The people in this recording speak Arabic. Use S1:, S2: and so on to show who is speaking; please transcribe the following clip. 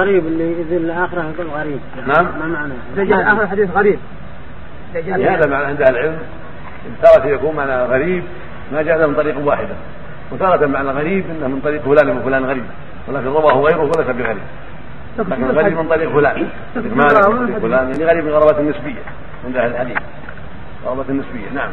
S1: غريب اللي يذل الآخرة يقول غريب
S2: نعم.
S1: ما معناه
S3: دجل
S1: ما-
S3: اخر حديث غريب
S2: يعني هذا معنى عند اهل العلم تارة يكون معنى غريب ما جاء له من طريق واحده وتارة معنى غريب انه من طريق فلان وفلان غريب ولكن رواه غيره وليس بغريب لكن غريب من طريق فلان من طريق فلان يعني غريب من غرابات النسبيه عند اهل الحديث غرابات النسبيه نعم